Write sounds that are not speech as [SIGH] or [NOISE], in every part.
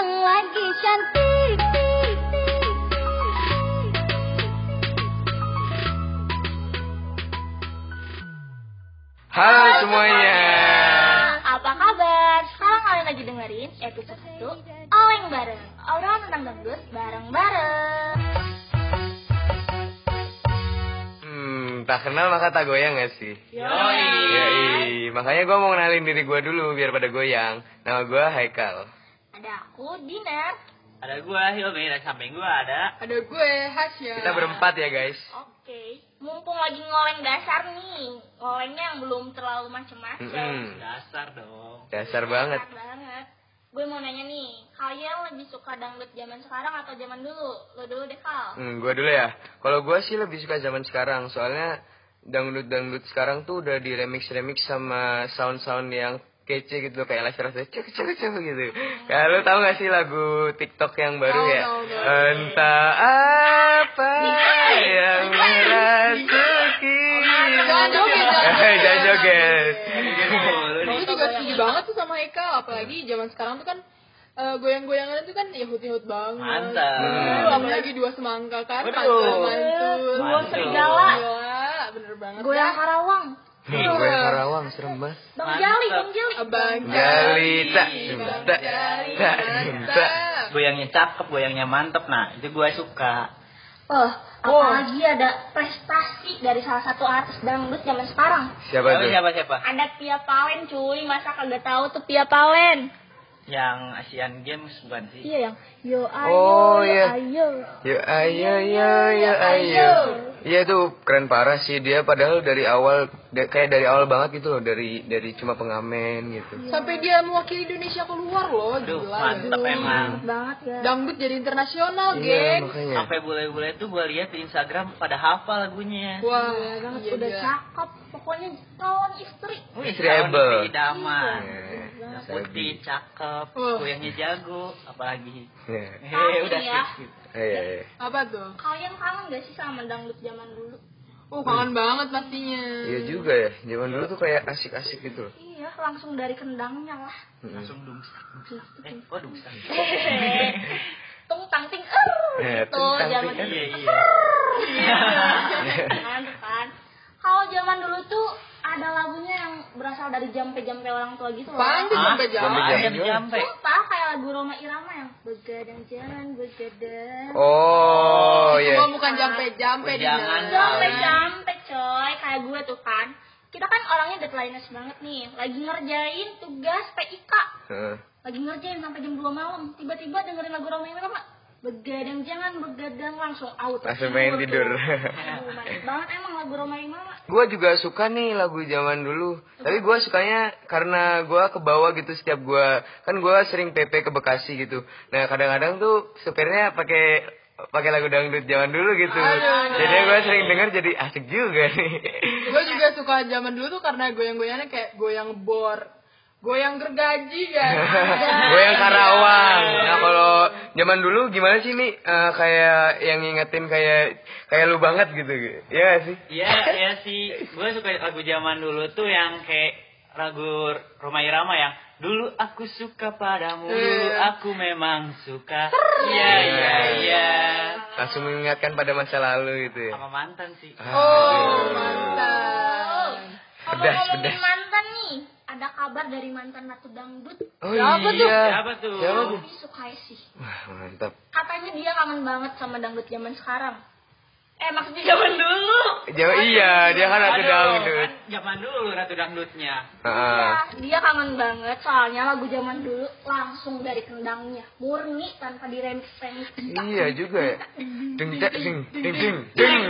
lagi cantik Halo semuanya. Apa kabar? Sekarang kalian lagi dengerin episode 1 Oleng Bareng Obrolan tentang dangdut bareng-bareng Hmm, tak kenal maka tak goyang gak sih? Yoi. Yoi. Makanya gue mau kenalin diri gue dulu biar pada goyang. Nama gue Haikal. Ada aku, Dinar Ada gue, Hilmi, dan samping gue ada. Ada gue, Hasya. Kita berempat ya guys. Oke Mumpung lagi ngoleng dasar nih Ngolengnya yang belum terlalu macem-macem Mm-mm. Dasar dong. Dasar banget. Enak banget. Gue mau nanya nih, kalian lebih suka dangdut zaman sekarang atau zaman dulu? Lo dulu deh, Kal. Hmm, gue dulu ya. Kalau gue sih lebih suka zaman sekarang. Soalnya dangdut-dangdut sekarang tuh udah di remix-remix sama sound-sound yang kece gitu kayak laser laser cek cek cek gitu. Kalau tahu gak sih lagu TikTok yang baru Tahu, ya? tahu, tahu. Entah apa yang merasuki. Jangan joget, jangan Eh, [LAUGHS] Jangan joget. Gue juga setuju banget tuh sama Eka, apalagi zaman sekarang tuh kan eh, goyang-goyangan itu kan ya hut-hut banget. Mantap. Bener, Hmm. apalagi dua semangka kan, Betul. pantul mantul. Dua serigala. Gila, bener banget. Goyang Karawang. Hmm, gue yang Karawang serem banget. Bang Mantap. Jali, Bang Jali. Abang Jali, tak, Abang tak, Jali, tak, tak. mantap. Goyangnya cakep, goyangnya mantep. Nah, itu gue suka. Oh, apalagi ada prestasi dari salah satu artis dangdut zaman sekarang. Siapa Tahu tuh? siapa siapa? Ada Pia Palen, cuy. Masa kagak tahu tuh Pia Palen? Yang Asian Games bukan sih? Iya yang yo ayo, Oh, yo, iya. ayo. Yo ayo yo yo ayo. Iya tuh keren parah sih dia padahal dari awal da- kayak dari awal banget gitu loh dari dari cuma pengamen gitu. Sampai dia mewakili Indonesia keluar loh, Aduh, gila. mantep Hmm. emang. Banget ya. Dangdut jadi internasional, Iya geng. makanya. Sampai bule-bule tuh gue lihat di Instagram pada hafal lagunya. Wah, Gila banget, iya, udah gila. cakep. Pokoknya calon istri. Wih, Tribal. tahun ini idaman. Eh, Yang sabi. Putih, cakep, Wah. goyangnya jago, apalagi. Iya. Hehehe, udah ya. sih. gitu. Eh, iya, iya. Apa tuh? Kalian kangen gak sih sama dangdut zaman dulu? Oh, kangen banget pastinya. Iya juga ya. Zaman dulu tuh kayak asik-asik gitu. loh. Iya, langsung dari kendangnya [LAUGHS] lah. Mm. Langsung dungsak, dungsak. Eh, kok dungsak? Tung tang ting er, Eh, gitu tung, tang, zaman ting, dulu. Iya, iya. Kan, kan. Kalau zaman dulu tuh ada lagunya yang berasal dari jampe-jampe orang tua gitu loh. Apaan tuh Ah, sampai jauh? Sampai jam- jampe. Sumpah, kayak lagu Roma Irama yang begadang jalan begadang. Hmm. Oh iya. Cuma bukan jampe-jampe Oh, di jangan. Jampe-jampe coy, kayak gue tuh kan. Kita kan orangnya deadline banget nih, lagi ngerjain tugas PIK. Heeh. lagi ngerjain sampai jam 2 malam tiba-tiba dengerin lagu Roma Irama begadang jangan begadang langsung out Langsung pengen tidur. Aduh, manis banget emang lagu Roma Irama Gua juga suka nih lagu zaman dulu. Tapi gua sukanya karena gua ke bawah gitu setiap gua kan gua sering PP ke Bekasi gitu. Nah, kadang-kadang tuh supirnya pakai pakai lagu dangdut zaman dulu gitu. Jadi gua sering denger jadi asik juga nih. Gue juga suka zaman dulu tuh karena goyang-goyangannya kayak goyang bor, goyang gergaji kan. [LAUGHS] Goyang Karawang. Nah, kalau zaman dulu gimana sih nih Eh, kayak yang ngingetin kayak kayak lu banget gitu. Iya gak sih? Iya, iya sih. Gue suka lagu zaman dulu tuh yang kayak lagu Roma Irama yang dulu aku suka padamu, dulu Eh. aku memang suka. Iya, iya, iya. Langsung mengingatkan pada masa lalu gitu ya. Sama mantan sih. Oh, oh. mantap. kalau Pedas, ngomongin pedas. mantan nih ada kabar dari mantan Ratu Dangdut Oh Siapa tuh? iya. Siapa tuh? Siapa tuh? Novi Sukaesih Wah, mantap. katanya dia kangen banget sama dangdut zaman sekarang eh maksudnya zaman dulu Jawa, iya, dia kan ratu Aduh, dangdut. kan zaman dulu ratu dangdutnya. Heeh. Iya, dia kangen banget soalnya lagu zaman dulu langsung dari kendangnya murni tanpa diremix remix Iya juga ya. Ding ding ding ding ding. ding.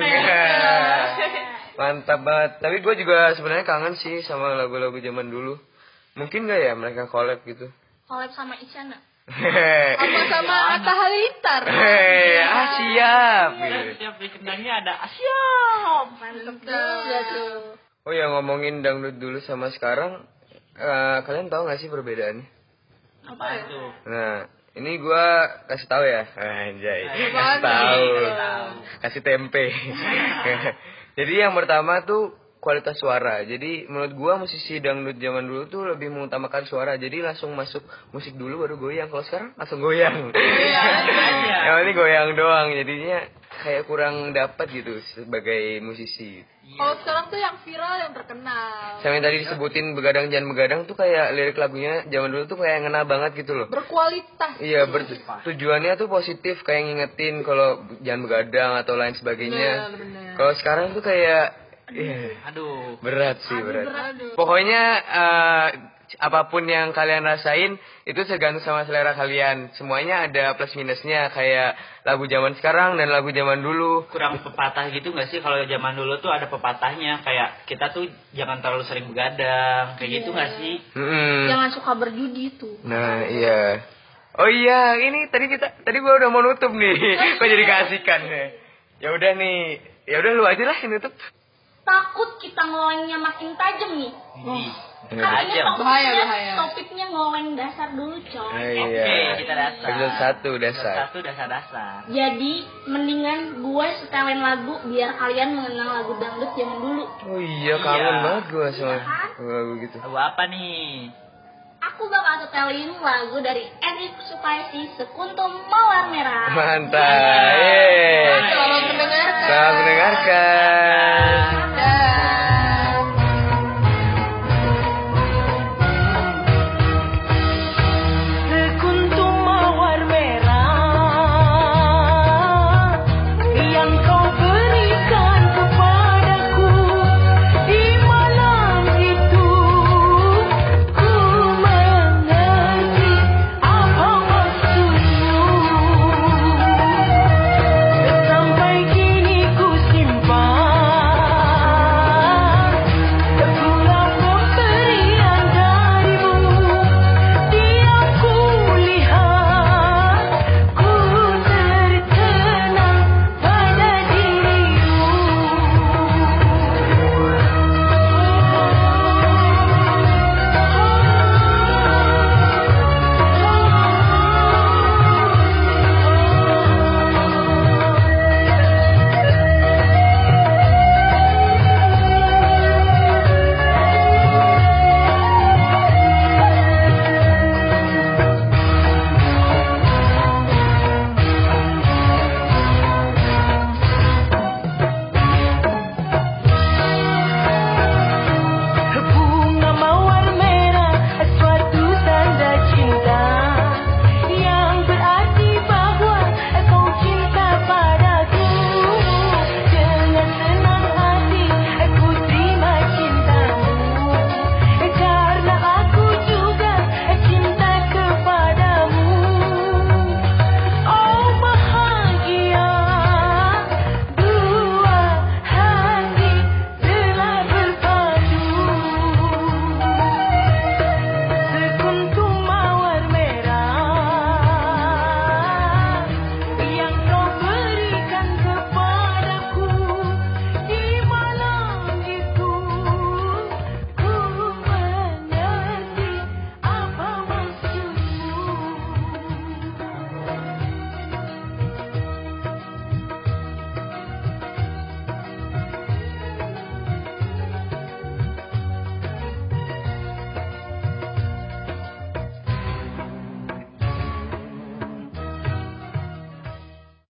Iya. [LAUGHS] Mantap banget. Tapi gue juga sebenarnya kangen sih sama lagu-lagu zaman dulu. Mungkin gak ya mereka collab gitu? collab sama Isyana Iya. Sama-sama Atta [LAUGHS] Halilintar. Hei, [LAUGHS] ah siap. Dan setiap di kendangnya ada asyam. mantep juga Mantap. tuh Oh ya ngomongin dangdut dulu sama sekarang, eh, kalian tahu gak sih perbedaannya? Apa ya? itu? Nah, ini gue kasih tahu ya, anjay. Kasih banget. tahu, Tahu. [LAUGHS] kasih tempe. Jadi yang pertama tuh kualitas suara. Jadi menurut gua musisi dangdut zaman dulu tuh lebih mengutamakan suara. Jadi langsung masuk musik dulu baru goyang. Kalau sekarang langsung goyang. Iya, kan? Yang ini goyang doang. Jadinya kayak kurang dapat gitu sebagai musisi. Kalau sekarang tuh yang viral yang terkenal. Sama yang tadi disebutin begadang jangan begadang tuh kayak lirik lagunya zaman dulu tuh kayak ngena banget gitu loh. Berkualitas. Iya, ber- tujuannya tuh positif kayak ngingetin kalau jangan begadang atau lain sebagainya. Benar-benar. Kalau sekarang tuh kayak iya, Aduh. berat sih berat. Aduh. Pokoknya eh, apapun yang kalian rasain itu tergantung sama selera kalian. Semuanya ada plus minusnya kayak lagu zaman sekarang dan lagu zaman dulu. kurang pepatah gitu nggak sih kalau zaman dulu tuh ada pepatahnya kayak kita tuh jangan terlalu sering begadang kayak gitu nggak sih Mm-mm. Jangan suka berjudi tuh. Nah, iya. Oh iya, ini tadi kita tadi gua udah mau nutup nih. [LAUGHS] Kok jadi keasikan nih. Ya udah nih. Ya udah lu aja lah yang nutup. Takut kita ngolengnya makin tajam nih. Oh. Iya, Katanya Tajam. topiknya- Bahaya, bahaya. Topiknya ngoleng dasar dulu, coy. Nah, oke iya. kita dasar Episode satu, dasar. Episode satu dasar dasar Jadi, mendingan gue setelin lagu biar kalian mengenang lagu dangdut zaman dulu. Oh iya, kangen Iya. banget gua sama Iya kan? lagu gitu. lagu apa nih Aku bakal setelin lagu dari Eric Supaisi, Sekuntum Mawar Merah. Mantap. Yeay. Selamat mendengarkan. Selamat mendengarkan.